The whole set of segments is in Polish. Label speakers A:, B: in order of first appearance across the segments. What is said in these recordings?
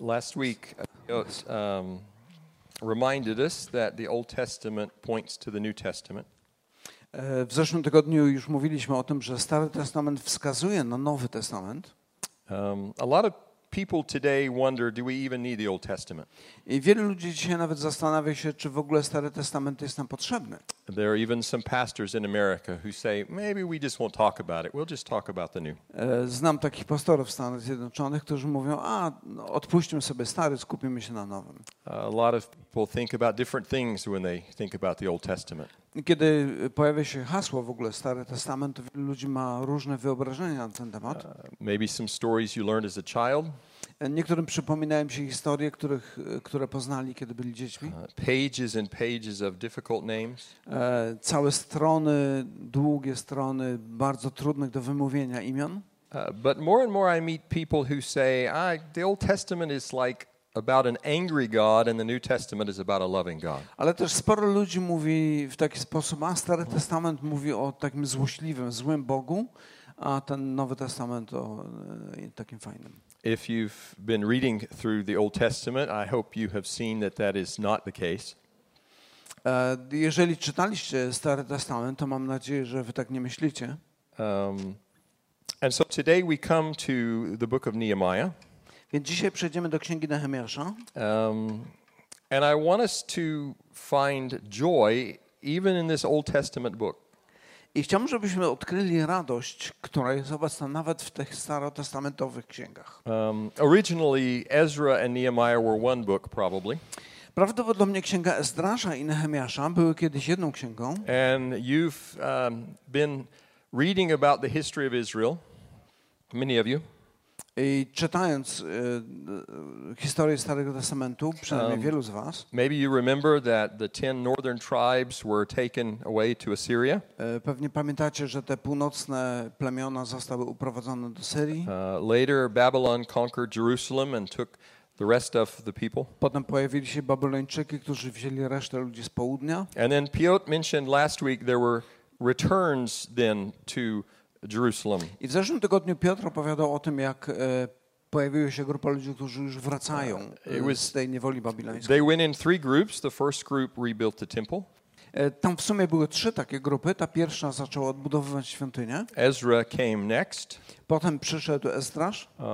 A: Last week, uh, um, reminded us that the Old Testament points to the New Testament.
B: E, W zeszłym tygodniu już mówiliśmy o tym, że Stary Testament wskazuje na Nowy Testament.
A: Um, a lot of people today wonder do we even need the Old Testament?
B: I wielu ludzi dzisiaj nawet zastanawia się, czy w ogóle Stary Testament jest nam potrzebny.
A: There are even some pastors in America who say maybe we just won't talk about it, we'll just talk about the new.
B: E, Znam takich pastorów w Stanach Zjednoczonych, którzy mówią, a no, odpuśćmy sobie stary, skupimy się na nowym.
A: Uh, a lot of people think about different things when they think about the Old Testament.
B: I Kiedy pojawia się hasło w ogóle Stary Testament, to wielu ludzi ma różne wyobrażenia na ten temat.
A: Uh, maybe some stories you learned as a child,
B: E, Niektórym przypominają się historie, których, e, które poznali, kiedy byli dziećmi.
A: uh, pages and pages of difficult names.
B: E, Całe strony, długie strony, bardzo trudnych do wymówienia imion.
A: Uh, but more and more I meet people who say, I, the Old Testament is like about an angry God and the New Testament is about a loving God.
B: Ale też sporo ludzi mówi w taki sposób, a Stary Testament mówi o takim złośliwym, złym Bogu, a ten Nowy Testament o e, takim fajnym.
A: If you've been reading through the Old Testament, I hope you have seen that that is not the case.
B: E, Jeżeli czytaliście Stary Testament, to mam nadzieję, że wy tak nie myślicie.
A: Um, and so today we come to the book of Nehemiah.
B: Więc dzisiaj przejdziemy do Księgi Nehemiasza
A: Um, and I want us to find joy even in this Old Testament book.
B: i chciałbym, żebyśmy odkryli radość, która jest obecna nawet w tych starotestamentowych księgach.
A: Um, originally, Ezra and Nehemiah were one book, probably,
B: Prawdopodobnie Księga Ezdrasza i Nehemiasza były kiedyś jedną księgą.
A: and you've um, been reading about the history of Israel, many of you.
B: I czytając y, y, historię Starego Testamentu, przynajmniej
A: Um,
B: wielu z Was,
A: Maybe you remember that the 10 northern tribes were taken away to Assyria.
B: y, pewnie pamiętacie, że te północne plemiona zostały uprowadzone do Syrii.
A: Uh, later, Babylon conquered Jerusalem and took the rest of the people.
B: Potem pojawili się Babylończyki, którzy wzięli resztę ludzi z południa.
A: And then Piot mentioned last week there were returns then to Jerusalem.
B: I w zeszłym tygodniu Piotr opowiadał o tym, jak e, pojawiła się grupa ludzi, którzy już wracają
A: Uh, It
B: e,
A: was-
B: z tej niewoli babilońskiej.
A: They went in three groups. The first group rebuilt the temple.
B: E, Tam w sumie były trzy takie grupy. Ta pierwsza zaczęła odbudowywać świątynię.
A: Ezra came next,
B: Potem przyszedł Ezdrasz.
A: um,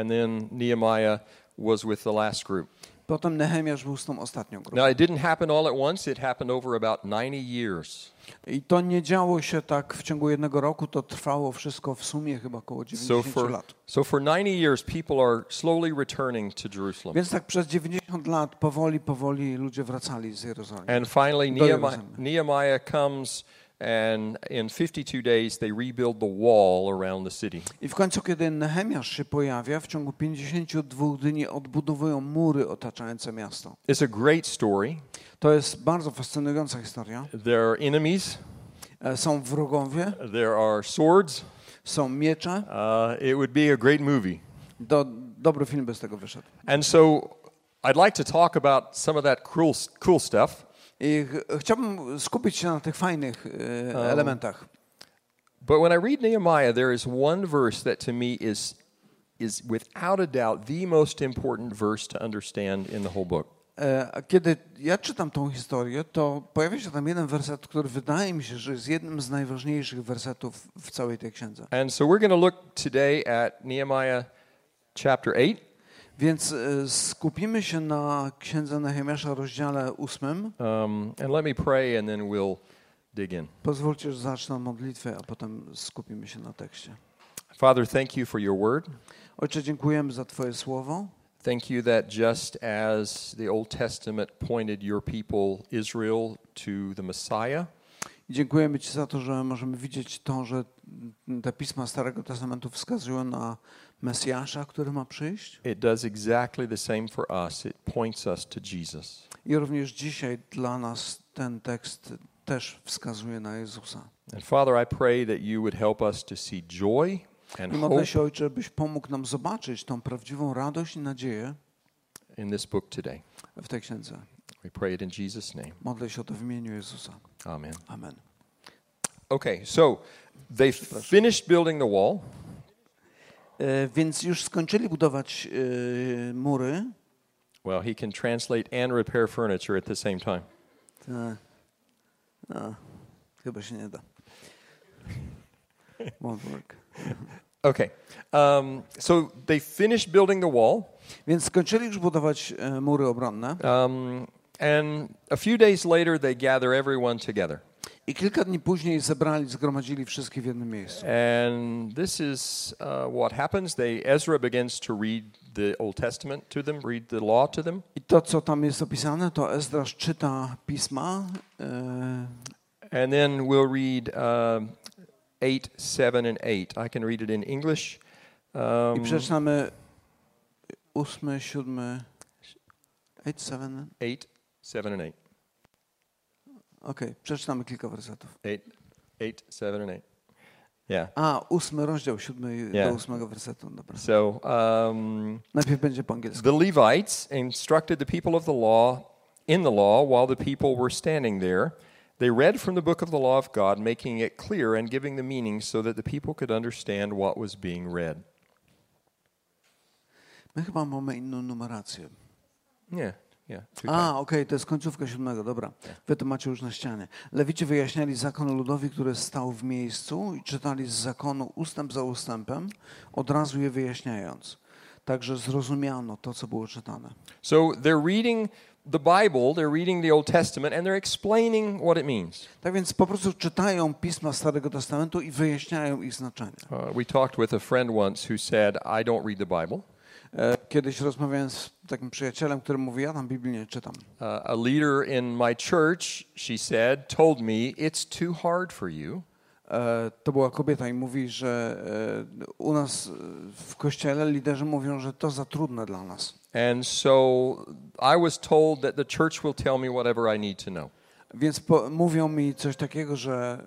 A: and then Nehemiah was with the last group.
B: Potem Nehemiasz był z tą ostatnią grupą.
A: Now, it didn't happen all at once. It happened over about 90 years.
B: I to nie działo się tak w ciągu jednego roku, to trwało wszystko w sumie chyba około
A: So
B: 90
A: for,
B: lat.
A: so for 90 years, people are slowly returning to Jerusalem.
B: Więc tak przez 90 lat powoli, powoli ludzie wracali z Jerozolimy.
A: And finally,
B: Go ahead,
A: Nehemiah,
B: Rosanna.
A: Nehemiah comes, and in 52 days, they rebuild the wall around the city.
B: I w końcu, kiedy Nehemiasz się pojawia, w ciągu 52 dni odbudowują mury otaczające miasto.
A: It's a great story.
B: To jest bardzo fascynująca historia.
A: There are enemies,
B: E, Są wrogowie,
A: there are swords.
B: są miecze.
A: Uh, it would be a great movie.
B: Do, dobry film by z tego wyszedł.
A: And so I'd like to talk about some of that cool, cool stuff.
B: I ch- chciałbym skupić się na tych fajnych e, elementach.
A: But when I read Nehemiah, there is one verse that to me is, is without a doubt the most important verse to understand in the whole book.
B: E, a Kiedy ja czytam tą historię, to pojawia się tam jeden werset, który wydaje mi się, że jest jednym z najważniejszych wersetów w całej tej księdze.
A: And so we're going to look today at Nehemiah chapter 8.
B: Więc e, skupimy się na księdze Nehemiasza, rozdziale ósmym.
A: Um, and let me pray, and then we'll dig in.
B: Pozwólcie, że zacznę od modlitwy, a potem skupimy się na tekście.
A: Father, thank you for your word.
B: Ojcze, dziękujemy za Twoje słowo.
A: Thank you that just as the Old Testament pointed your people, Israel, to the Messiah,
B: I Dziękujemy Ci za to, że możemy widzieć to, że te pisma Starego Testamentu wskazują na Mesjasza, który ma przyjść.
A: it does exactly the same for us. It points us to Jesus.
B: I również dzisiaj dla nas ten tekst też wskazuje na Jezusa.
A: And Father, I pray that you would help us to see joy and
B: I modlę
A: hope
B: się, Ojcze, byś pomógł nam zobaczyć tą prawdziwą radość i nadzieję
A: in this book today.
B: w tej księdze.
A: We pray it in Jesus' name.
B: Modlę się o to w imieniu Jezusa.
A: Amen.
B: Amen.
A: Okay, so they finished building the wall.
B: E, Więc już skończyli budować e, mury.
A: Well, he can translate and repair furniture at the same time.
B: Tak.
A: E.
B: A, chyba się nie da. Won't work.
A: Okay. Um, so they finished building the wall,
B: Więc skończyli już budować e, mury obronne
A: um, and a few days later, they gather everyone together.
B: i kilka dni później zebrali, zgromadzili wszystkich w jednym miejscu.
A: And this is uh, what happens. They Ezra begins to read the Old Testament to them, read the law to them,
B: I to, co tam jest opisane, to Ezdrasz czyta pisma. e,
A: and then we'll read um, eight, seven, and eight. I can read it in English.
B: I
A: Um,
B: przeczytamy ósmy, siódmy, eight, seven.
A: eight, seven, and eight.
B: Okej, przeczytamy kilka wersetów.
A: Eight, eight, seven, and eight. Yeah.
B: A, ósmy rozdział, siódmy
A: Yeah.
B: do ósmego wersetu, dobra.
A: So um,
B: Najpierw będzie po angielsku.
A: the Levites instructed the people of the law in the law while the people were standing there. They read from the book of the law of God, making it clear and giving the meaning so that the people could understand what was being read.
B: My chyba mamy inną numerację.
A: Yeah, yeah. two times.
B: A, okej, to jest końcówka siódmego, dobra. Wy to macie już na ścianie. Lewicie wyjaśniali zakon ludowi, który stał w miejscu i czytali z zakonu ustęp za ustępem, od razu je wyjaśniając. Także zrozumiano to, co było czytane.
A: So they're reading the Bible, they're reading the Old Testament, and they're explaining what it means.
B: Tak więc po prostu czytają pisma Starego Testamentu i wyjaśniają ich znaczenie.
A: Uh, we talked with a friend once who said, I don't read the Bible.
B: E, Kiedyś rozmawiałem z takim przyjacielem, który mówi, ja tam Biblii nie czytam.
A: Uh, a leader in my church, she said, told me, it's too hard for you.
B: E, To była kobieta i mówi, że e, u nas e, w kościele liderzy mówią, że to za trudne dla nas.
A: And so I was told that the church will tell me whatever I need to know.
B: Więc po, mówią mi coś takiego, że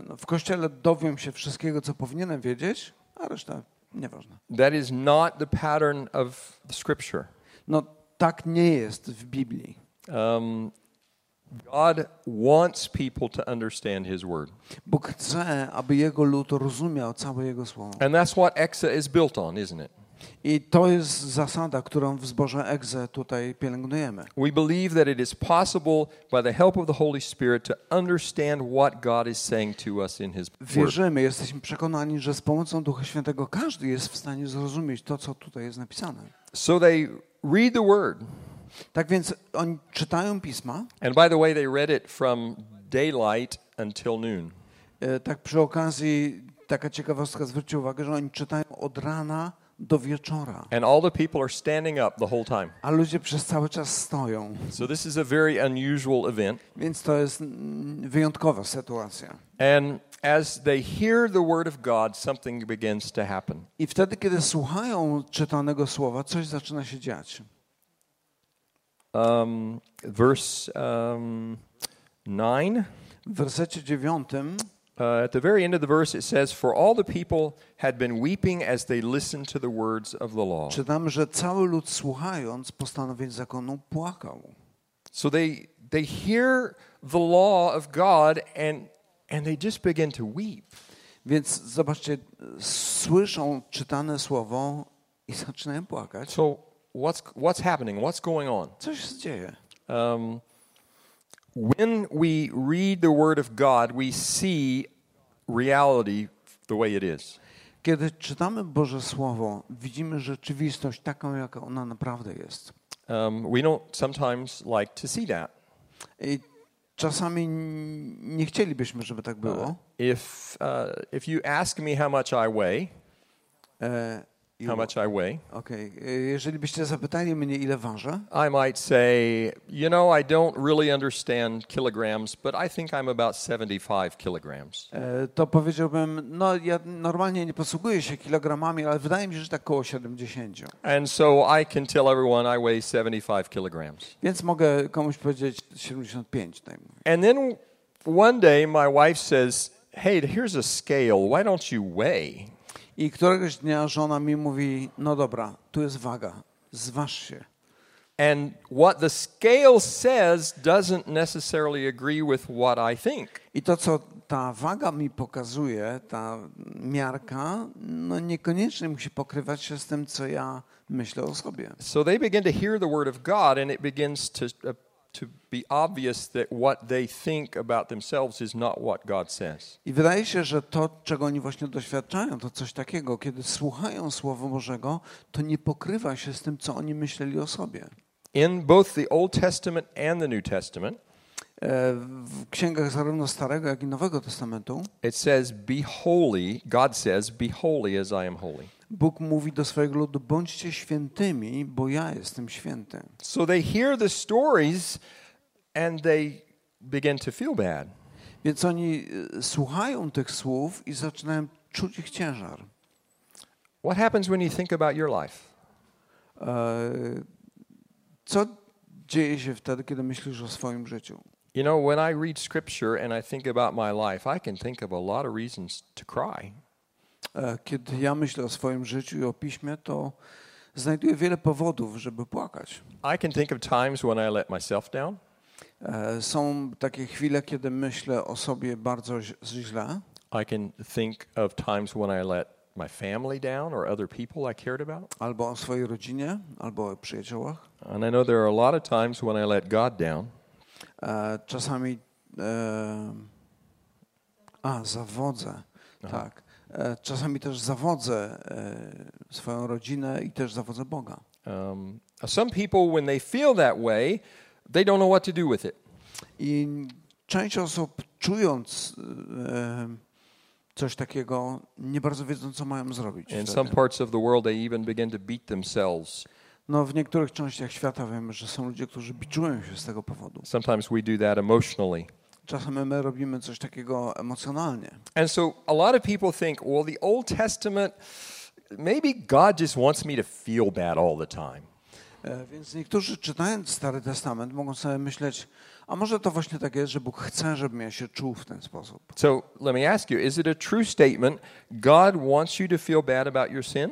B: e, no, w kościele dowiem się wszystkiego, co powinienem wiedzieć, a reszta nieważne.
A: That is not the pattern of the scripture.
B: No tak nie jest w Biblii.
A: Um, God wants people to understand his word.
B: Bóg chce, aby Jego lud rozumiał całe Jego słowo.
A: And that's what Exa is built on, isn't it?
B: I to jest zasada, którą w zborze Egze tutaj pielęgnujemy.
A: We believe that it is possible by the help of the Holy Spirit to understand what God is saying to us in his word.
B: Wierzymy, jesteśmy przekonani, że z pomocą Ducha Świętego każdy jest w stanie zrozumieć to, co tutaj jest napisane.
A: So they read the word.
B: Tak więc oni czytają pisma,
A: And by the way, they read it from daylight until noon.
B: E, Tak przy okazji, taka ciekawostka, zwróćcie uwagę, że oni czytają od rana do wieczora,
A: And all the people are standing up the whole time.
B: a ludzie przez cały czas stoją,
A: So this is a very unusual event.
B: więc to jest mm, wyjątkowa sytuacja.
A: And as they hear the word of God, something begins to happen.
B: I wtedy, kiedy słuchają czytanego słowa, coś zaczyna się dziać.
A: Um, verse um, 9.
B: W wersecie dziewiątym,
A: Uh, at the very end of the verse, it says, For all the people had been weeping as they listened to the words of the law.
B: czytamy, że cały lud słuchając postanowień zakonu płakał.
A: So they, they hear the law of God and, and they just begin to weep.
B: Więc zobaczcie, e, słyszą czytane słowo i zaczynają płakać.
A: So what's, what's happening? What's going on?
B: Coś się dzieje.
A: Um, when we read the Word of God, we see reality the way it is.
B: Kiedy czytamy Boże Słowo, widzimy rzeczywistość taką, jaka ona naprawdę jest.
A: Um, we don't sometimes like to see that.
B: I czasami n- nie chcielibyśmy, żeby tak było.
A: If uh, if you ask me how much I weigh,
B: E, i-
A: how much I weigh,
B: Okej. E, Jeżeli byście zapytali mnie, ile ważę,
A: I might say, you know, I don't really understand kilograms, but I think I'm about 75 kilograms.
B: e, to powiedziałbym, no ja normalnie nie posługuję się kilogramami, ale wydaje mi się, że tak koło 70.
A: And so I can tell everyone I weigh 75 kilograms.
B: Więc mogę komuś powiedzieć 75. Tutaj mówię.
A: And then one day my wife says, Hey, here's a scale. Why don't you weigh?
B: I któregoś dnia żona mi mówi, no dobra, tu jest waga, zważ się.
A: And what the scale says doesn't necessarily agree with what I think.
B: I to, co ta waga mi pokazuje, ta miarka, no niekoniecznie musi pokrywać się z tym, co ja myślę o sobie.
A: So they begin to hear the word of God, and it begins to, uh, to be obvious that what they think about themselves is not what God says.
B: I wydaje się, że to, czego oni właśnie doświadczają, to coś takiego, kiedy słuchają Słowa Bożego, to nie pokrywa się z tym, co oni myśleli o sobie. E,
A: In both the Old Testament and the New Testament,
B: E, W księgach zarówno Starego, jak i Nowego Testamentu
A: it says, Be holy, God says, Be holy as I am holy.
B: Bóg mówi do swojego ludu: bądźcie świętymi, bo ja jestem święty.
A: So they hear the stories and they begin to feel bad.
B: Więc oni e, słuchają tych słów i zaczynają czuć ich ciężar.
A: What happens when you think about your life?
B: E, Co dzieje się wtedy, kiedy myślisz o swoim życiu?
A: You know, when I read scripture and I think about my life, I can think of a lot of reasons to cry.
B: E, Kiedy ja myślę o swoim życiu i o piśmie, to znajduję wiele powodów, żeby płakać.
A: I can think of times when I let myself down.
B: E, Są takie chwile, kiedy myślę o sobie bardzo ź- źle.
A: I can think of times when I let my family down or other people I cared about.
B: Albo o swojej rodzinie, albo o przyjaciołach.
A: And I know there are a lot of times when I let God down.
B: E, Czasami. E, a, zawodzę. Tak. E, Czasami też zawodzę e, swoją rodzinę i też zawodzę Boga.
A: Um, some people, when they feel that way, they don't know what to do with it.
B: I część osób, czując e, coś takiego, nie bardzo wiedzą, co mają zrobić.
A: In
B: wtedy.
A: some parts of the world, they even begin to beat themselves.
B: No, w niektórych częściach świata wiemy, że są ludzie, którzy biczują się z tego powodu.
A: Sometimes we do that emotionally.
B: Czasem my robimy coś takiego emocjonalnie.
A: And so a lot of people think, well, the Old Testament, maybe God just wants me to feel bad all the time.
B: E, Więc niektórzy czytając Stary Testament mogą sobie myśleć, a może to właśnie tak jest, że Bóg chce, żebym ja się czuł w ten sposób.
A: So let me ask you is it a true statement God wants you to feel bad about your sin?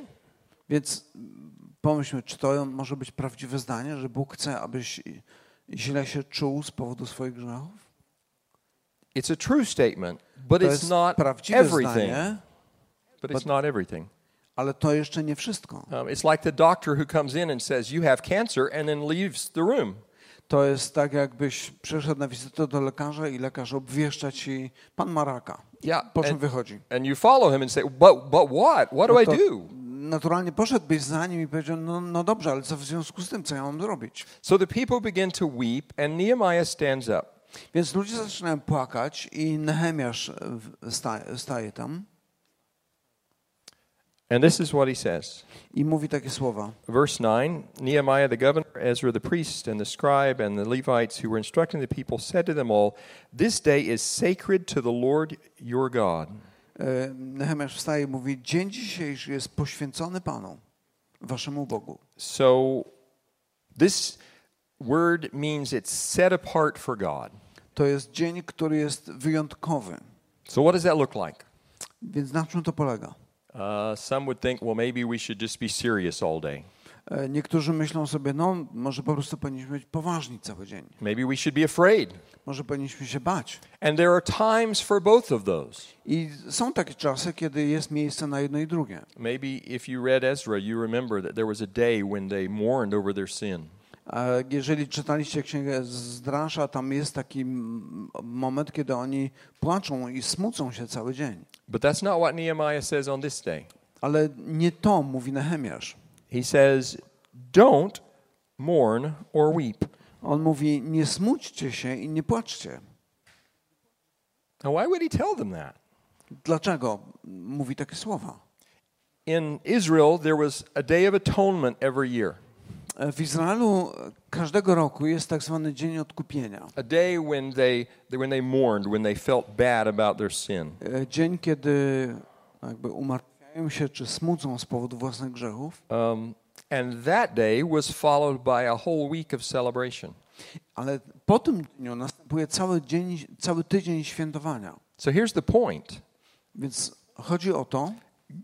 B: Więc mm, pomyślmy, czy to może być prawdziwe zdanie, że Bóg chce, abyś źle się czuł z powodu swoich grzechów?
A: It's a true statement, but
B: To
A: it's
B: jest
A: not
B: prawdziwe
A: everything.
B: zdanie,
A: But it's not everything.
B: ale to jeszcze nie wszystko.
A: Um, it's like the doctor who comes in and says, You have cancer, and then leaves the room.
B: To jest tak, jakbyś przyszedł na wizytę do lekarza i lekarz obwieszcza ci, pan ma raka.
A: Yeah.
B: Po czym
A: And,
B: wychodzi.
A: and you follow him and say, But, but what? What do
B: No
A: I
B: to
A: do?
B: naturalnie poszedłbyś za nim i powiedział, no, no dobrze, ale co w związku z tym, co ja mam zrobić?
A: So the people begin to weep, and Nehemiah stands up.
B: Więc ludzie zaczynają płakać i Nehemiasz e, w- staje, staje tam
A: And this is what he says.
B: i mówi takie słowa.
A: Verse 9 Nehemiah the governor, Ezra the priest, and the scribe, and the Levites who were instructing the people said to them all, This day is sacred to the Lord your God.
B: E, Nehemiasz wstaje i mówi, dzień dzisiejszy jest poświęcony Panu, waszemu Bogu.
A: So this word means it's set apart for God.
B: To jest dzień, który jest wyjątkowy.
A: So what does that look like?
B: Więc na czym to polega?
A: Uh, some would think, well, maybe we should just be serious all day.
B: E, Niektórzy myślą sobie, no może po prostu powinniśmy być poważni cały dzień.
A: Maybe we should be afraid.
B: Może powinniśmy się bać.
A: And there are times for both of those.
B: I są takie czasy, kiedy jest miejsce na jedno i drugie.
A: Maybe if you read Ezra, you remember that there was a day when they mourned over their sin.
B: A E, Jeżeli czytaliście księgę Zdrasza, tam jest taki m- moment, kiedy oni płaczą i smucą się cały dzień.
A: But that's not what Nehemiah says on this day.
B: Ale nie to mówi Nehemiasz.
A: He says, Don't mourn or weep.
B: On mówi, nie smućcie się i nie płaczcie.
A: Now, why would he tell them that?
B: Dlaczego mówi takie słowa?
A: In Israel, there was a day of atonement every year,
B: E, W Izraelu e, każdego roku jest tak zwany Dzień Odkupienia.
A: a day when they, when they mourned, when they felt bad about their sin.
B: E, Dzień, kiedy no, jakby umartwiają się czy smucą z powodu własnych grzechów.
A: Um, and that day was followed by a whole week of celebration.
B: Ale po tym dniu następuje cały, dzień, cały tydzień świętowania.
A: So here's the point
B: Więc chodzi o to,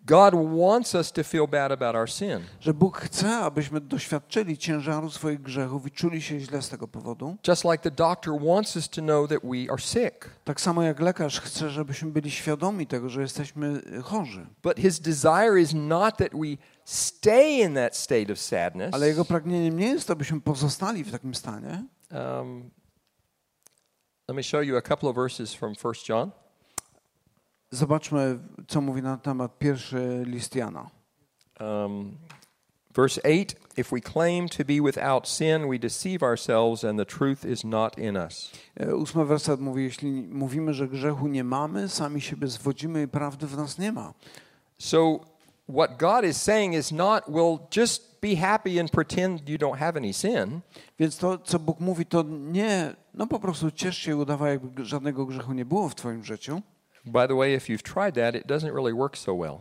A: God wants us to feel bad about our sin.
B: że Bóg chce, abyśmy doświadczyli ciężaru swoich grzechów i czuli się źle z tego powodu.
A: Just like the doctor wants us to know that we are sick.
B: Tak samo jak lekarz chce, żebyśmy byli świadomi tego, że jesteśmy e, chorzy.
A: But his desire is not that we stay in that state of sadness.
B: Ale jego pragnieniem nie jest to, byśmy pozostali w takim stanie.
A: Um, let me show you a couple of verses from 1 John.
B: Zobaczmy, co mówi na temat pierwszy list Jana.
A: Um, verse 8 If we claim to be without sin, we deceive ourselves and the truth is not in us.
B: E, Ósmy werset mówi, jeśli mówimy, że grzechu nie mamy, sami siebie zwodzimy i prawdy w nas nie ma.
A: So, what God is saying is not, well, just be happy and pretend you don't have any sin.
B: Więc to, co Bóg mówi, to nie, no po prostu ciesz się i udawaj, jakby g- żadnego grzechu nie było w twoim życiu.
A: By the way, if you've tried that, it doesn't really work so well.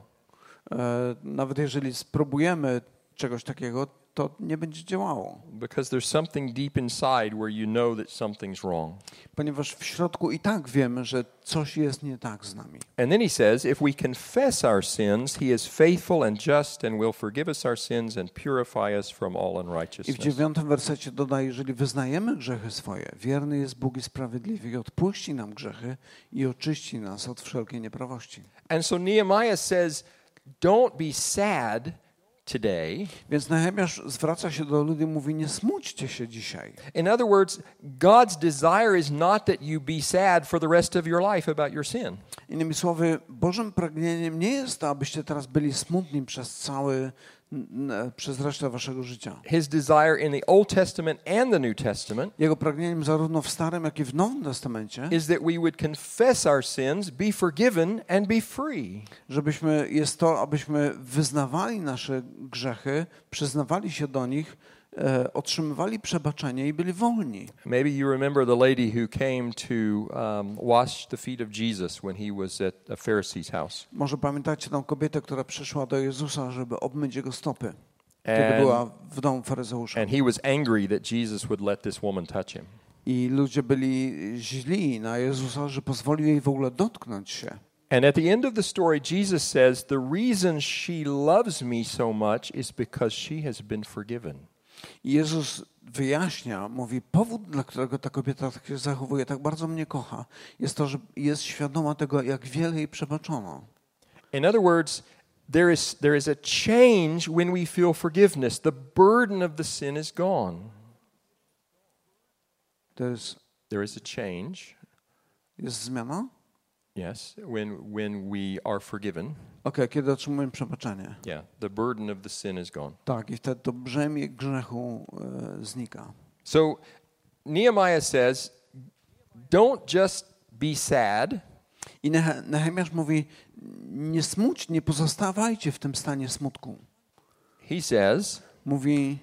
B: E, Nawet jeżeli spróbujemy czegoś takiego, to nie będzie działało.
A: Because there's something deep inside where you know that something's wrong.
B: Ponieważ w środku i tak wiemy, że coś jest nie tak z nami.
A: And then he says, If we confess our sins, he is faithful and just and will forgive us our sins and purify us from all
B: I w
A: unrighteousness.
B: dziewiątym wersecie dodaje, jeżeli wyznajemy grzechy swoje, wierny jest Bóg i sprawiedliwy i odpuści nam grzechy i oczyści nas od wszelkiej nieprawości.
A: And so Nehemiah says, Don't be sad today.
B: Więc Nehemiasz zwraca się do ludzi i mówi, nie smućcie się dzisiaj.
A: In other words, God's desire is not that you be sad for the rest of your life about your sin.
B: Innymi słowy, Bożym pragnieniem nie jest to, abyście teraz byli smutni przez cały, n- n- przez resztę waszego życia.
A: His desire in the Old Testament and the New Testament
B: Jego pragnieniem zarówno w Starym, jak i w Nowym Testamencie,
A: is that we would confess our sins, be forgiven, and be free.
B: żebyśmy, jest to, abyśmy wyznawali nasze grzechy, przyznawali się do nich, e, otrzymywali przebaczenie i byli wolni.
A: Maybe you remember the lady who came to um, wash the feet of Jesus when he was at a Pharisee's house.
B: Może pamiętacie tą kobietę, która przyszła do Jezusa, żeby obmyć jego stopy, kiedy była
A: And,
B: w domu faryzeusza.
A: and he was angry that Jesus would let this woman touch him.
B: I ludzie byli źli na Jezusa, że pozwolił jej w ogóle dotknąć się.
A: And at the end of the story, Jesus says, The reason she loves me so much is because she has been forgiven.
B: I Jezus wyjaśnia, mówi, powód, dla którego ta kobieta tak się zachowuje, tak bardzo mnie kocha, jest to, że jest świadoma tego, jak wiele jej przebaczono.
A: In other words, there is, there is a change when we feel forgiveness. The burden of the sin is gone.
B: To jest,
A: There is a change,
B: jest zmiana? Okej,
A: yes, when, when we are forgiven.
B: kiedy otrzymujemy przebaczenie.
A: Yeah, the burden of the sin is gone.
B: Tak, i wtedy to brzemię grzechu e, znika.
A: So Nehemiah says, don't just be sad,
B: I Nehe- Nehemiasz mówi, nie smuć, nie pozostawajcie w tym stanie smutku.
A: he says,
B: Mówi,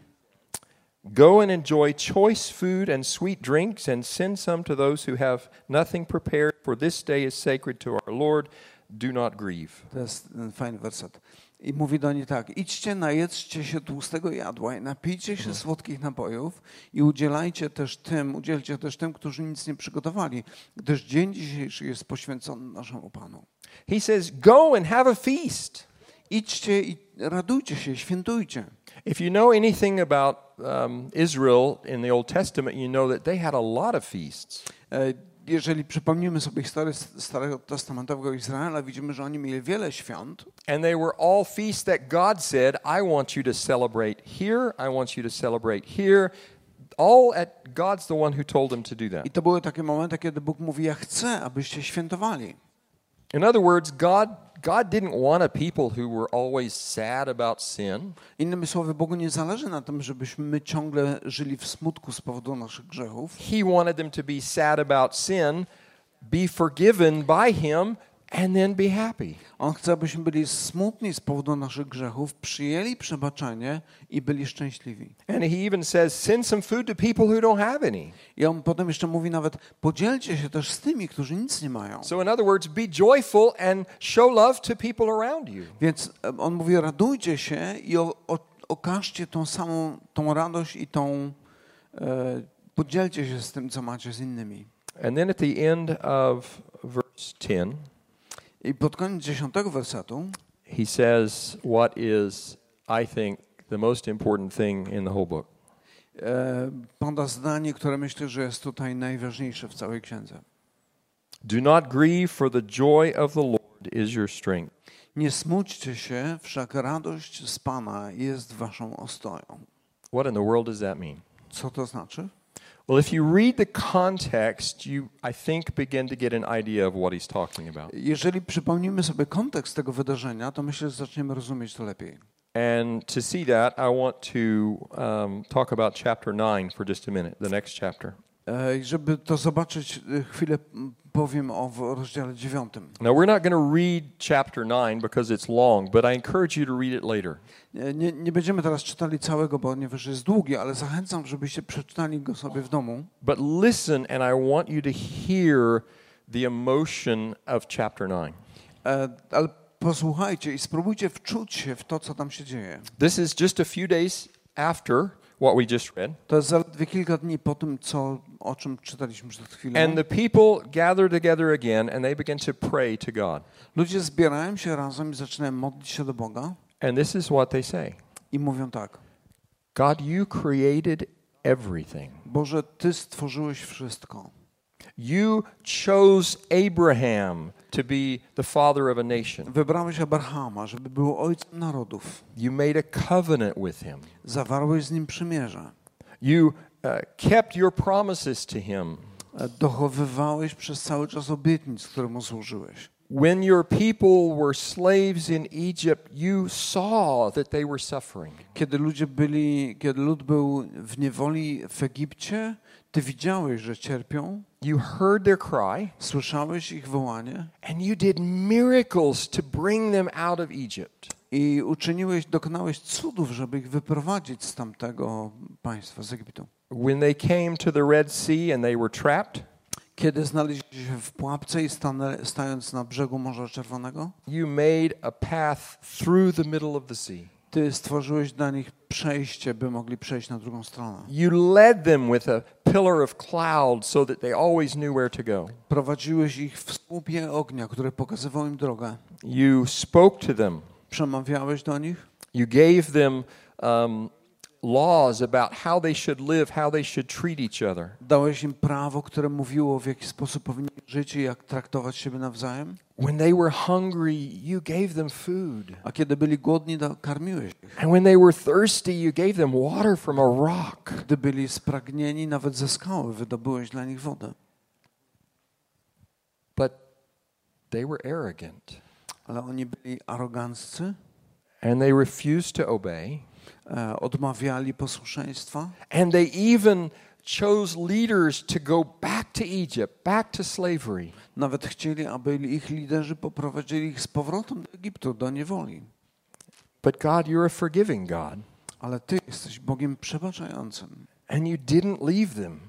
A: go and enjoy choice food and sweet drinks and send some to those who have nothing prepared, for this day is sacred to our Lord. Do not grieve.
B: To jest ten fajny werset. I mówi do niej tak: idźcie, najedzcie się tłustego jadła i napijcie się słodkich napojów i udzielajcie też tym, udzielcie też tym, którzy nic nie przygotowali, gdyż dzień dzisiejszy jest poświęcony naszemu Panu.
A: He says, go and have a feast.
B: Idźcie i radujcie się, świętujcie.
A: If you know anything about um, Israel in the Old Testament, you know that they had a lot of feasts.
B: E, Jeżeli przypomnimy sobie historię s- Starego Testamentowego Izraela, widzimy, że oni mieli wiele świąt
A: And they were all feasts that God said, I want you to celebrate here, I want you to celebrate here. All at God's the one who told them to do that.
B: i to były takie momenty, kiedy Bóg mówi, ja chcę, abyście świętowali.
A: In other words, God God didn't want a people who were always sad about sin.
B: Innymi słowy, Bogu nie zależy na tym, żebyśmy my ciągle żyli w smutku z powodu naszych grzechów,
A: He wanted them to be sad about sin, be forgiven by him, and then be happy.
B: On chce, abyśmy byli smutni z powodu naszych grzechów, przyjęli przebaczenie i byli szczęśliwi.
A: And he even says, send some food to people who don't have any.
B: I on potem jeszcze mówi nawet, podzielcie się też z tymi, którzy nic nie mają.
A: So in other words, be joyful and show love to people around you.
B: Więc e, on mówi, radujcie się i o, o, okażcie tą samą, tą radość i tą, e, podzielcie się z tym, co macie z innymi.
A: And then at the end of verse 10,
B: I pod koniec dziesiątego wersetu
A: he says what is, I think, the most important thing in the whole book.
B: E, Pada zdanie, które myślę, że jest tutaj najważniejsze w całej księdze.
A: Do not grieve, for the joy of the Lord is your strength.
B: Nie smućcie się, wszak radość z Pana jest waszą ostoją.
A: What in the world does that mean?
B: Co to znaczy?
A: Well, if you read the context, you, I think, begin to get an idea of what he's talking about.
B: Jeżeli przypomnimy sobie kontekst tego wydarzenia, to myślę, że zaczniemy rozumieć to lepiej.
A: And to see that, I want to um, talk about chapter 9 for just a minute, the next chapter.
B: E, i Żeby to zobaczyć, e, chwilę m, powiem o w- rozdziale dziewiątym.
A: Now, we're not going to read chapter 9 because it's long, but I encourage you to read it later.
B: E, Nie, nie będziemy teraz czytali całego, bo ponieważ jest długi, ale zachęcam, żebyście przeczytali go sobie w domu.
A: But listen, and I want you to hear the emotion of chapter 9.
B: E, Ale posłuchajcie i spróbujcie wczuć się w to, co tam się dzieje.
A: This is just a few days after what we just read.
B: To jest zaledwie kilka dni po tym, co, o czym czytaliśmy przed chwilą.
A: And the people gather together again and they begin to pray to God.
B: Ludzie zbierają się razem i zaczynają modlić się do Boga
A: And this is what they say
B: i mówią tak.
A: God, you created everything.
B: Boże, Ty stworzyłeś wszystko.
A: You chose Abraham to be the father of a nation.
B: Wybrałeś Abrahama, żeby był ojcem narodów.
A: You made a covenant with him.
B: Zawarłeś z nim przymierze.
A: You uh, kept your promises to him.
B: E, Dochowywałeś przez cały czas obietnic, które mu złożyłeś.
A: When your people were slaves in Egypt, you saw that they were suffering.
B: Kiedy ludzie byli, kiedy lud był w niewoli w Egipcie, Ty widziałeś, że cierpią,
A: You heard their cry,
B: słyszałeś ich wołanie
A: and you did miracles to bring them out of Egypt.
B: i uczyniłeś, dokonałeś cudów, żeby ich wyprowadzić z tamtego państwa, z Egiptu.
A: When they came to the Red Sea and they were trapped,
B: Kiedy znaleźli się w pułapce i stanę, stając na brzegu Morza Czerwonego,
A: you made a path through the middle of the sea.
B: Ty stworzyłeś dla nich przejście, by mogli przejść na drugą stronę.
A: You led them with a pillar of cloud so that they always knew where to go.
B: Prowadziłeś ich w słupie ognia, który pokazywał im drogę.
A: You spoke to them.
B: Przemawiałeś do nich,
A: You gave them um, laws about how they should live, how they should treat each other.
B: dałeś im prawo, które mówiło, w jaki sposób powinni żyć i jak traktować siebie nawzajem.
A: When they were hungry, you gave them food.
B: A kiedy byli głodni, da- karmiłeś ich.
A: And when they were thirsty, you gave them water from a rock.
B: Gdy byli spragnieni, nawet ze skały wydobyłeś dla nich wodę.
A: But they were arrogant
B: Ale oni byli aroganccy,
A: and they refused to obey.
B: e, odmawiali posłuszeństwa.
A: And they even chose leaders to go back to Egypt, back to slavery.
B: Nawet chcieli, aby ich liderzy poprowadzili ich z powrotem do Egiptu, do niewoli.
A: But God, you're a forgiving God,
B: Ale Ty jesteś Bogiem przebaczającym
A: and you didn't leave them.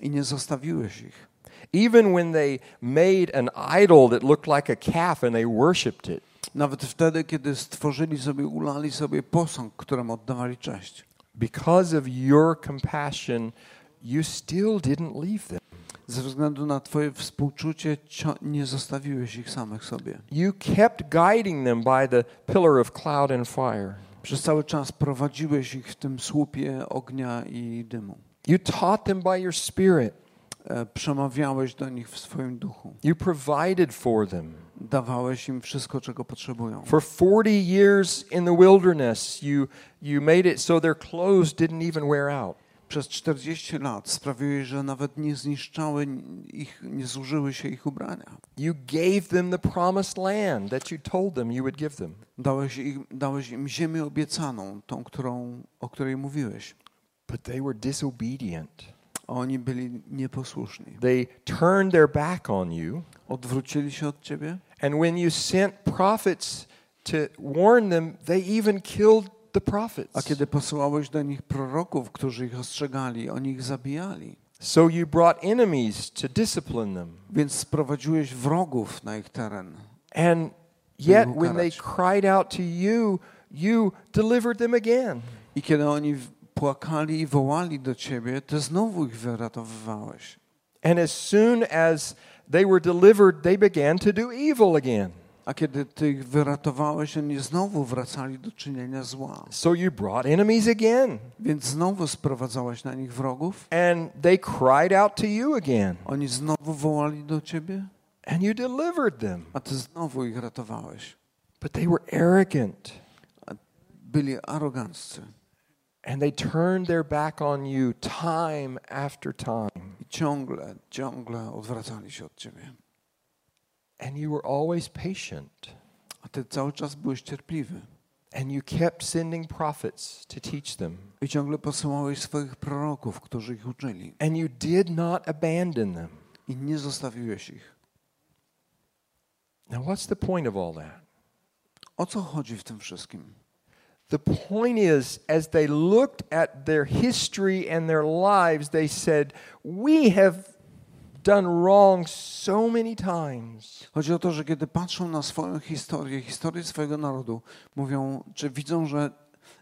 B: i nie zostawiłeś ich.
A: Even when they made an idol that looked like a calf and they worshiped it,
B: Nawet wtedy, kiedy stworzyli sobie, ulali sobie posąg, któremu oddawali cześć.
A: because of your compassion, you still didn't leave them.
B: Ze względu na Twoje współczucie cio- nie zostawiłeś ich samych sobie.
A: You kept guiding them by the pillar of cloud and fire.
B: Przez cały czas prowadziłeś ich w tym słupie ognia i dymu.
A: You taught them by your spirit.
B: E, Przemawiałeś do nich w swoim duchu.
A: You provided for them.
B: Dawałeś im wszystko, czego potrzebują.
A: For 40 years in the wilderness, you, you made it so their clothes didn't even wear out.
B: Przez 40 lat sprawiłeś, że nawet nie zniszczały ich, nie zużyły się ich ubrania.
A: You gave them the promised land that you told them you would give them.
B: Dałeś im, dałeś im ziemię obiecaną, tą, którą, o której mówiłeś.
A: But they were disobedient.
B: A oni byli nieposłuszni.
A: They turned their back on you.
B: Odwrócili się od ciebie,
A: And when you sent prophets to warn them, they even killed the
B: a
A: prophets.
B: kiedy posyłałeś do nich proroków, którzy ich ostrzegali, oni ich zabijali.
A: So you brought enemies to discipline them.
B: Więc sprowadziłeś wrogów na ich teren.
A: And yet,
B: Był
A: when they
B: karać.
A: cried out to you, you delivered them again.
B: I kiedy oni w- płakali i wołali do ciebie, ty znowu ich wyratowywałeś.
A: And as soon as they were delivered, they began to do evil again.
B: A kiedy Ty ich wyratowałeś, oni znowu wracali do czynienia zła.
A: So you brought enemies again,
B: Więc znowu sprowadzałeś na nich wrogów.
A: and they cried out to you again,
B: Oni znowu wołali do Ciebie,
A: and you delivered them.
B: a Ty znowu ich ratowałeś.
A: But they were arrogant,
B: Byli aroganccy
A: and they turned their back on you time after time.
B: i ciągle, ciągle odwracali się od Ciebie.
A: And you were always patient,
B: A Ty cały czas byłeś cierpliwy
A: and you kept sending prophets to teach them,
B: i ciągle posyłałeś swoich proroków, którzy ich uczyli.
A: and you did not abandon them.
B: I nie zostawiłeś ich.
A: Now, what's the point of all that?
B: O co chodzi w tym wszystkim?
A: The point is, as they looked at their history and their lives, they said, We have done wrong so many times.
B: Chodzi o to, że kiedy patrzą na swoją historię, historię swojego narodu, mówią, czy widzą, że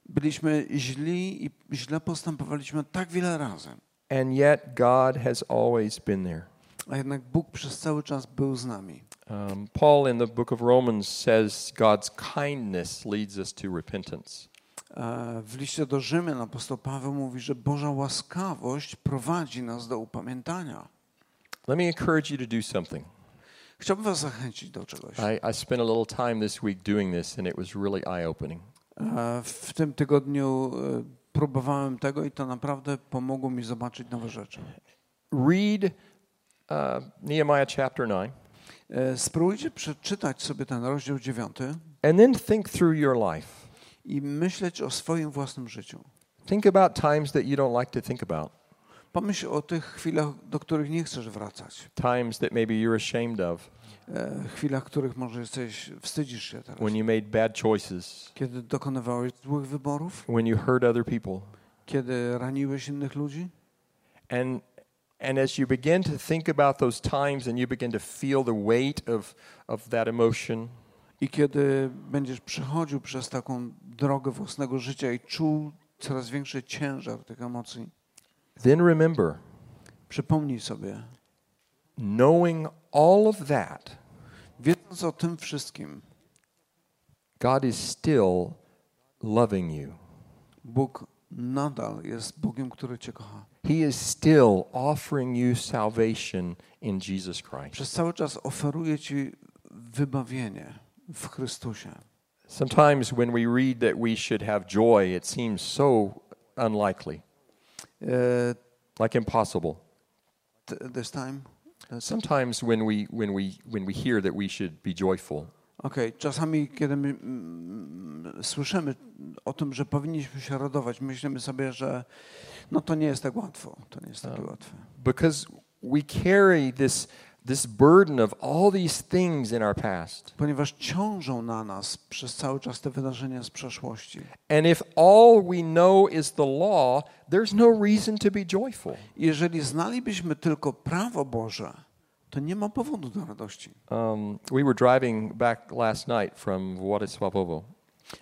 B: byliśmy źli i źle postępowaliśmy tak wiele razy,
A: And yet, God has always been there.
B: a jednak Bóg przez cały czas był z nami.
A: Um, Paul in the book of Romans says, God's kindness leads us to repentance.
B: E, W liście do Rzymian apostoł Paweł mówi, że Boża łaskawość prowadzi nas do upamiętania.
A: Let me encourage you to do something.
B: Chciałbym was zachęcić do czegoś.
A: I, I spent a little time this week doing this, and it was really eye opening.
B: E, W tym tygodniu e, próbowałem tego i to naprawdę pomogło mi zobaczyć nowe rzeczy.
A: Read uh, Nehemiah chapter 9,
B: E, Spróbujcie przeczytać sobie ten rozdział dziewiąty.
A: and then think through your life.
B: i myśleć o swoim własnym życiu.
A: Think about times that you don't like to think about,
B: Pomyśl o tych chwilach, do których nie chcesz wracać.
A: times that maybe you're ashamed of,
B: E, chwilach, których może jesteś, wstydzisz się teraz.
A: when you made bad choices,
B: Kiedy dokonywałeś złych wyborów,
A: when you hurt other people.
B: kiedy raniłeś innych ludzi.
A: And and as you begin to think about those times and you begin to feel the weight of of that emotion,
B: I kiedy będziesz przechodził przez taką drogę własnego życia i czuł coraz większy ciężar tych emocji,
A: then remember,
B: przypomnij sobie,
A: knowing all of that,
B: wiedząc o tym wszystkim,
A: God is still loving you.
B: Bóg nadal jest Bogiem, który Cię kocha.
A: He is still offering you salvation in Jesus Christ.
B: Przez cały czas oferuje Ci wybawienie w Chrystusie.
A: Sometimes when we read that we should have joy, it seems so unlikely,
B: Uh,
A: like impossible.
B: t- this time? That's-
A: Sometimes when we when we when we hear that we should be joyful,
B: Okej, czasami kiedy my, mm, słyszymy o tym, że powinniśmy się radować, myślimy sobie, że no to nie jest tak łatwo, to nie jest takie łatwe.
A: because we carry this this burden of all these things in our past.
B: Ponieważ ciążą na nas przez cały czas te wydarzenia z przeszłości.
A: And if all we know is the law, there's no reason to be joyful.
B: Jeżeli znalibyśmy tylko prawo Boże, to nie ma powodu do radości.
A: Um, we were driving back last night from Władysławowo,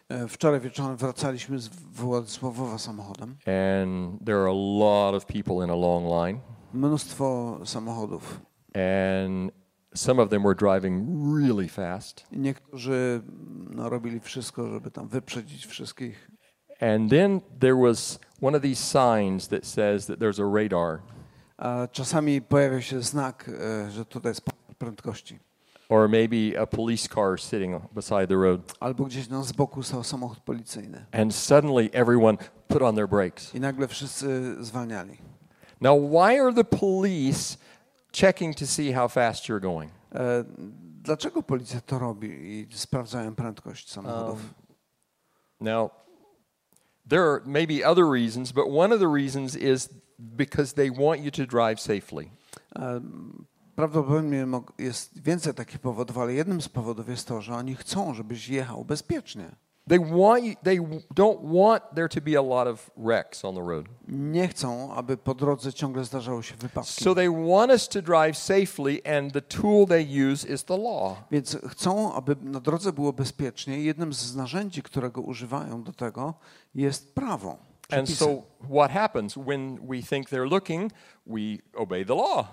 B: E, Wczoraj wieczorem wracaliśmy z Władysławowa samochodem.
A: and there are a lot of people in a long line.
B: Mnóstwo samochodów.
A: and some of them were driving really fast.
B: Niektórzy no, robili wszystko, żeby tam wyprzedzić wszystkich.
A: And then there was one of these signs that says that there's a radar
B: A czasami pojawia się znak, e, że tutaj jest pomiar prędkości.
A: or maybe a police car sitting beside the road.
B: Albo gdzieś tam z boku stał samochód policyjny.
A: And suddenly everyone put on their brakes.
B: I nagle wszyscy zwalniali.
A: Now, why are the police checking to see how fast you're going?
B: E, Dlaczego policja to robi i sprawdzają prędkość samochodów?
A: Now, there are maybe other reasons, but one of the reasons is because they want you to drive safely.
B: E, Prawdopodobnie mog- jest więcej takich powodów, ale jednym z powodów jest to, że oni chcą, żebyś jechał bezpiecznie.
A: They want you, they don't want there to be a lot of wrecks on the road.
B: Nie chcą, aby po drodze ciągle zdarzały się wypadki.
A: So they want us to drive safely, and the tool they use is the law.
B: Więc chcą, aby na drodze było bezpiecznie. Jednym z narzędzi, którego używają do tego, jest prawo.
A: And
B: przepisy.
A: so, what happens when we think they're looking? We obey the law.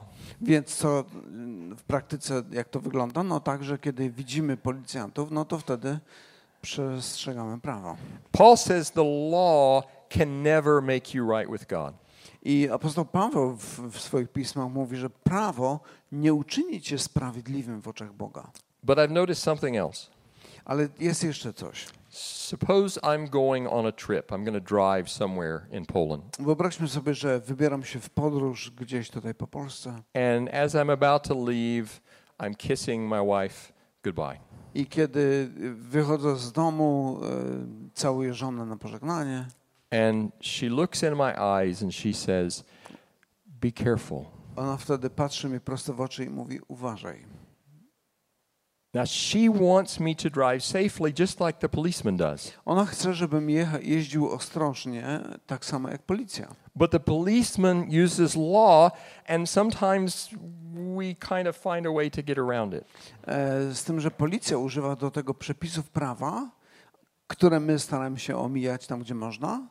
B: Więc co mm, w praktyce, jak to wygląda? No tak, że kiedy widzimy policjantów, no to wtedy przestrzegamy prawa.
A: Paul says the law can never make you right with God.
B: I apostoł Paweł w, w swoich pismach mówi, że prawo nie uczyni cię sprawiedliwym w oczach Boga.
A: But I've noticed something else.
B: Ale jest jeszcze coś.
A: Suppose I'm going on a trip. I'm going to drive somewhere in Poland.
B: Wyobraźmy sobie, że wybieram się w podróż gdzieś tutaj po Polsce
A: And as I'm about to leave, I'm kissing my wife goodbye.
B: i kiedy wychodzę z domu, e, całuję żonę na pożegnanie
A: And she looks in my eyes and she says, Be careful.
B: Ona wtedy patrzy mi prosto w oczy i mówi: Uważaj.
A: Now, she wants me to drive safely, just like the policeman does.
B: Ona chce, żebym jecha, jeździł ostrożnie, tak samo jak policja.
A: But the policeman uses law, and sometimes we kind of find a way to get around it.
B: E, Z tym, że policja używa do tego przepisów prawa, które my staramy się omijać tam, gdzie można.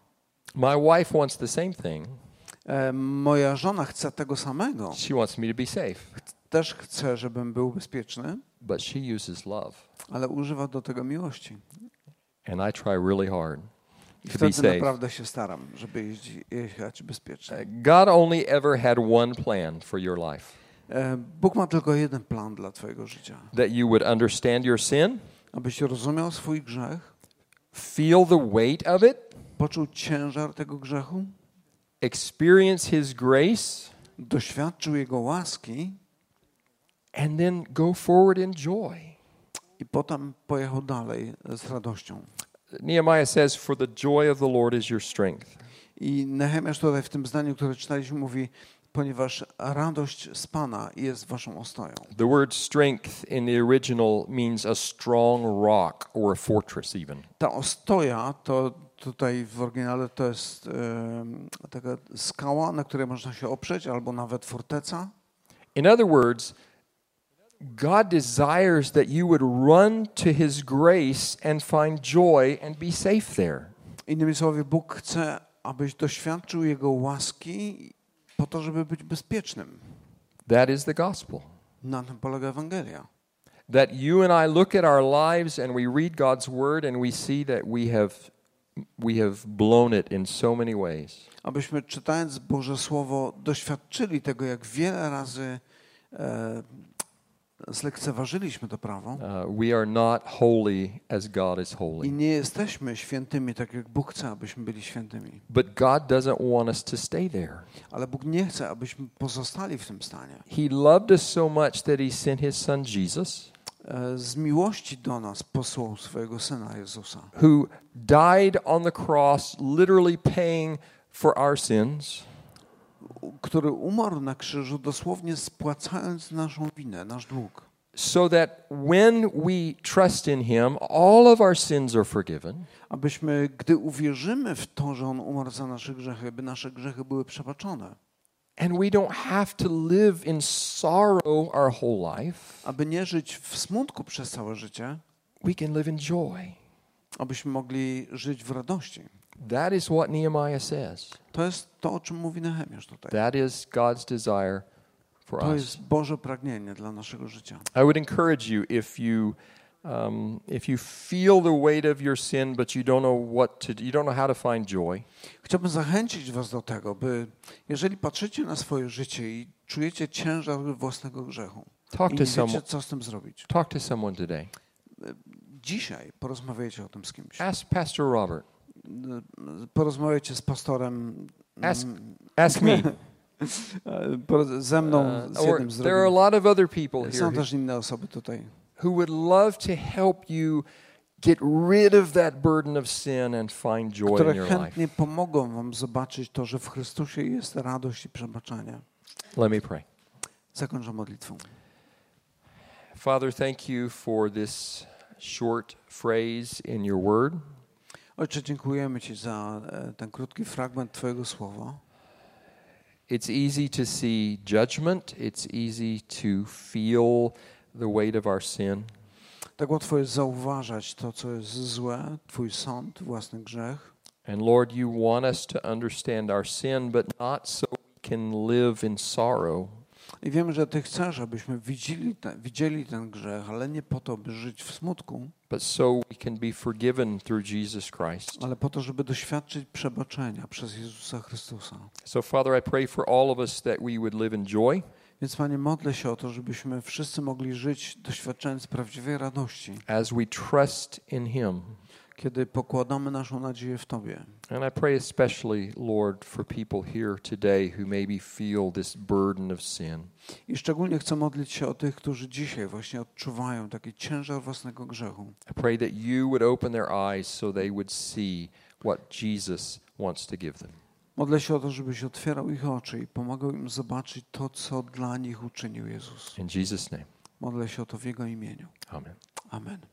A: My wife wants the same thing.
B: E, Moja żona chce tego samego.
A: She wants me to be safe,
B: Też chce, żebym był bezpieczny,
A: but she uses love.
B: ale używa do tego miłości.
A: And I try really hard
B: I
A: to be
B: wtedy
A: safe.
B: naprawdę się staram, żeby jeździ- jechać bezpiecznie.
A: Uh, God only ever had one plan for your life
B: E, Bóg ma tylko jeden plan dla Twojego życia:
A: that you would understand your sin,
B: abyś rozumiał swój grzech,
A: feel the weight of it,
B: poczuł ciężar tego grzechu,
A: experience His grace,
B: doświadczył Jego łaski
A: and then go forward in joy.
B: i potem pojechał dalej z radością.
A: Nehemiah says, For the joy of the Lord is your strength.
B: I Nehemiasz tutaj w tym zdaniu, które czytaliśmy, mówi, ponieważ radość z Pana jest waszą ostoją.
A: The word strength in the original means a strong rock or a fortress, even.
B: Ta ostoja to tutaj w oryginale to jest em, taka skała, na której można się oprzeć, albo nawet forteca.
A: In other words, God desires that you would run to His grace and find joy and be safe there.
B: Innymi słowy, Bóg chce, abyś doświadczył Jego łaski po to, żeby być bezpiecznym.
A: That is the gospel.
B: Na tym polega Ewangelia.
A: That you and I look at our lives and we read God's word and we see that we have, we have blown it in so many ways.
B: abyśmy czytając Boże Słowo doświadczyli tego, jak wiele razy e, zlekceważyliśmy to prawo
A: Uh, we are not holy as God is
B: i
A: holy.
B: nie jesteśmy świętymi, tak jak Bóg chce, abyśmy byli świętymi.
A: But God doesn't want us to stay there.
B: Ale Bóg nie chce, abyśmy pozostali w tym stanie.
A: He loved us so much that He sent His Son Jesus,
B: E, z miłości do nas posłał swojego Syna Jezusa,
A: who died on the cross, literally paying for our sins,
B: u- który umarł na krzyżu, dosłownie spłacając naszą winę, nasz dług.
A: so that when we trust in Him, all of our sins are forgiven.
B: Abyśmy, gdy uwierzymy w to, że On umarł za nasze grzechy, by nasze grzechy były przebaczone.
A: And we don't have to live in sorrow our whole life.
B: aby nie żyć w smutku przez całe życie,
A: We can live in joy.
B: abyśmy mogli żyć w radości.
A: That is what Nehemiah says.
B: To jest to, o czym mówi Nehemiasz tutaj.
A: That is God's desire for
B: To
A: us.
B: jest Boże pragnienie dla naszego życia.
A: I would encourage you if you um, if you feel the weight of your sin, but you don't know what to, do, you don't know how to find joy.
B: Chciałbym zachęcić Was do tego, by jeżeli patrzycie na swoje życie i czujecie ciężar własnego grzechu
A: Talk
B: i
A: to
B: nie
A: someone.
B: wiecie, co z tym zrobić,
A: Talk to someone today.
B: dzisiaj porozmawiajcie o tym z kimś.
A: Ask Pastor Robert.
B: Porozmawiajcie z pastorem,
A: Ask ask me.
B: e, poro- ze mną,
A: Uh,
B: z
A: or
B: jednym z
A: there are a
B: drugim.
A: lot of other people here
B: Są
A: who,
B: też inne osoby tutaj.
A: who would love to help you get rid of that burden of sin and find joy in
B: które
A: your life.
B: chętnie pomogą wam zobaczyć to, że w Chrystusie jest radość i przebaczenie.
A: Let me pray.
B: Zakończę modlitwą.
A: Father, thank you for this short phrase in your word.
B: Ojcze, dziękujemy Ci za e, ten krótki fragment Twojego słowa.
A: It's easy to see judgment. It's easy to feel the weight of our sin.
B: Tak łatwo jest zauważać to, co jest złe, Twój sąd, własny grzech,
A: And Lord, you want us to understand our sin, but not so we can live in sorrow.
B: I wiemy, że Ty chcesz, abyśmy widzieli, te, widzieli ten grzech, ale nie po to, by żyć w smutku,
A: but so we can be forgiven through Jesus Christ.
B: ale po to, żeby doświadczyć przebaczenia przez Jezusa Chrystusa.
A: So, Father, I pray for all of us that we would live in joy,
B: Więc Panie, modlę się o to, żebyśmy wszyscy mogli żyć doświadczając prawdziwej radości,
A: as we trust in Him.
B: kiedy pokładamy naszą nadzieję w Tobie.
A: And I pray especially, Lord, for people here today who maybe feel this burden of sin.
B: I szczególnie chcę modlić się o tych, którzy dzisiaj właśnie odczuwają taki ciężar własnego grzechu.
A: I pray that you would open their eyes so they would see what Jesus wants to give them.
B: Modlę się o to, żebyś otwierał ich oczy i pomagał im zobaczyć to, co dla nich uczynił Jezus.
A: In Jesus' name,
B: Modlę się o to w Jego imieniu.
A: amen.
B: Amen.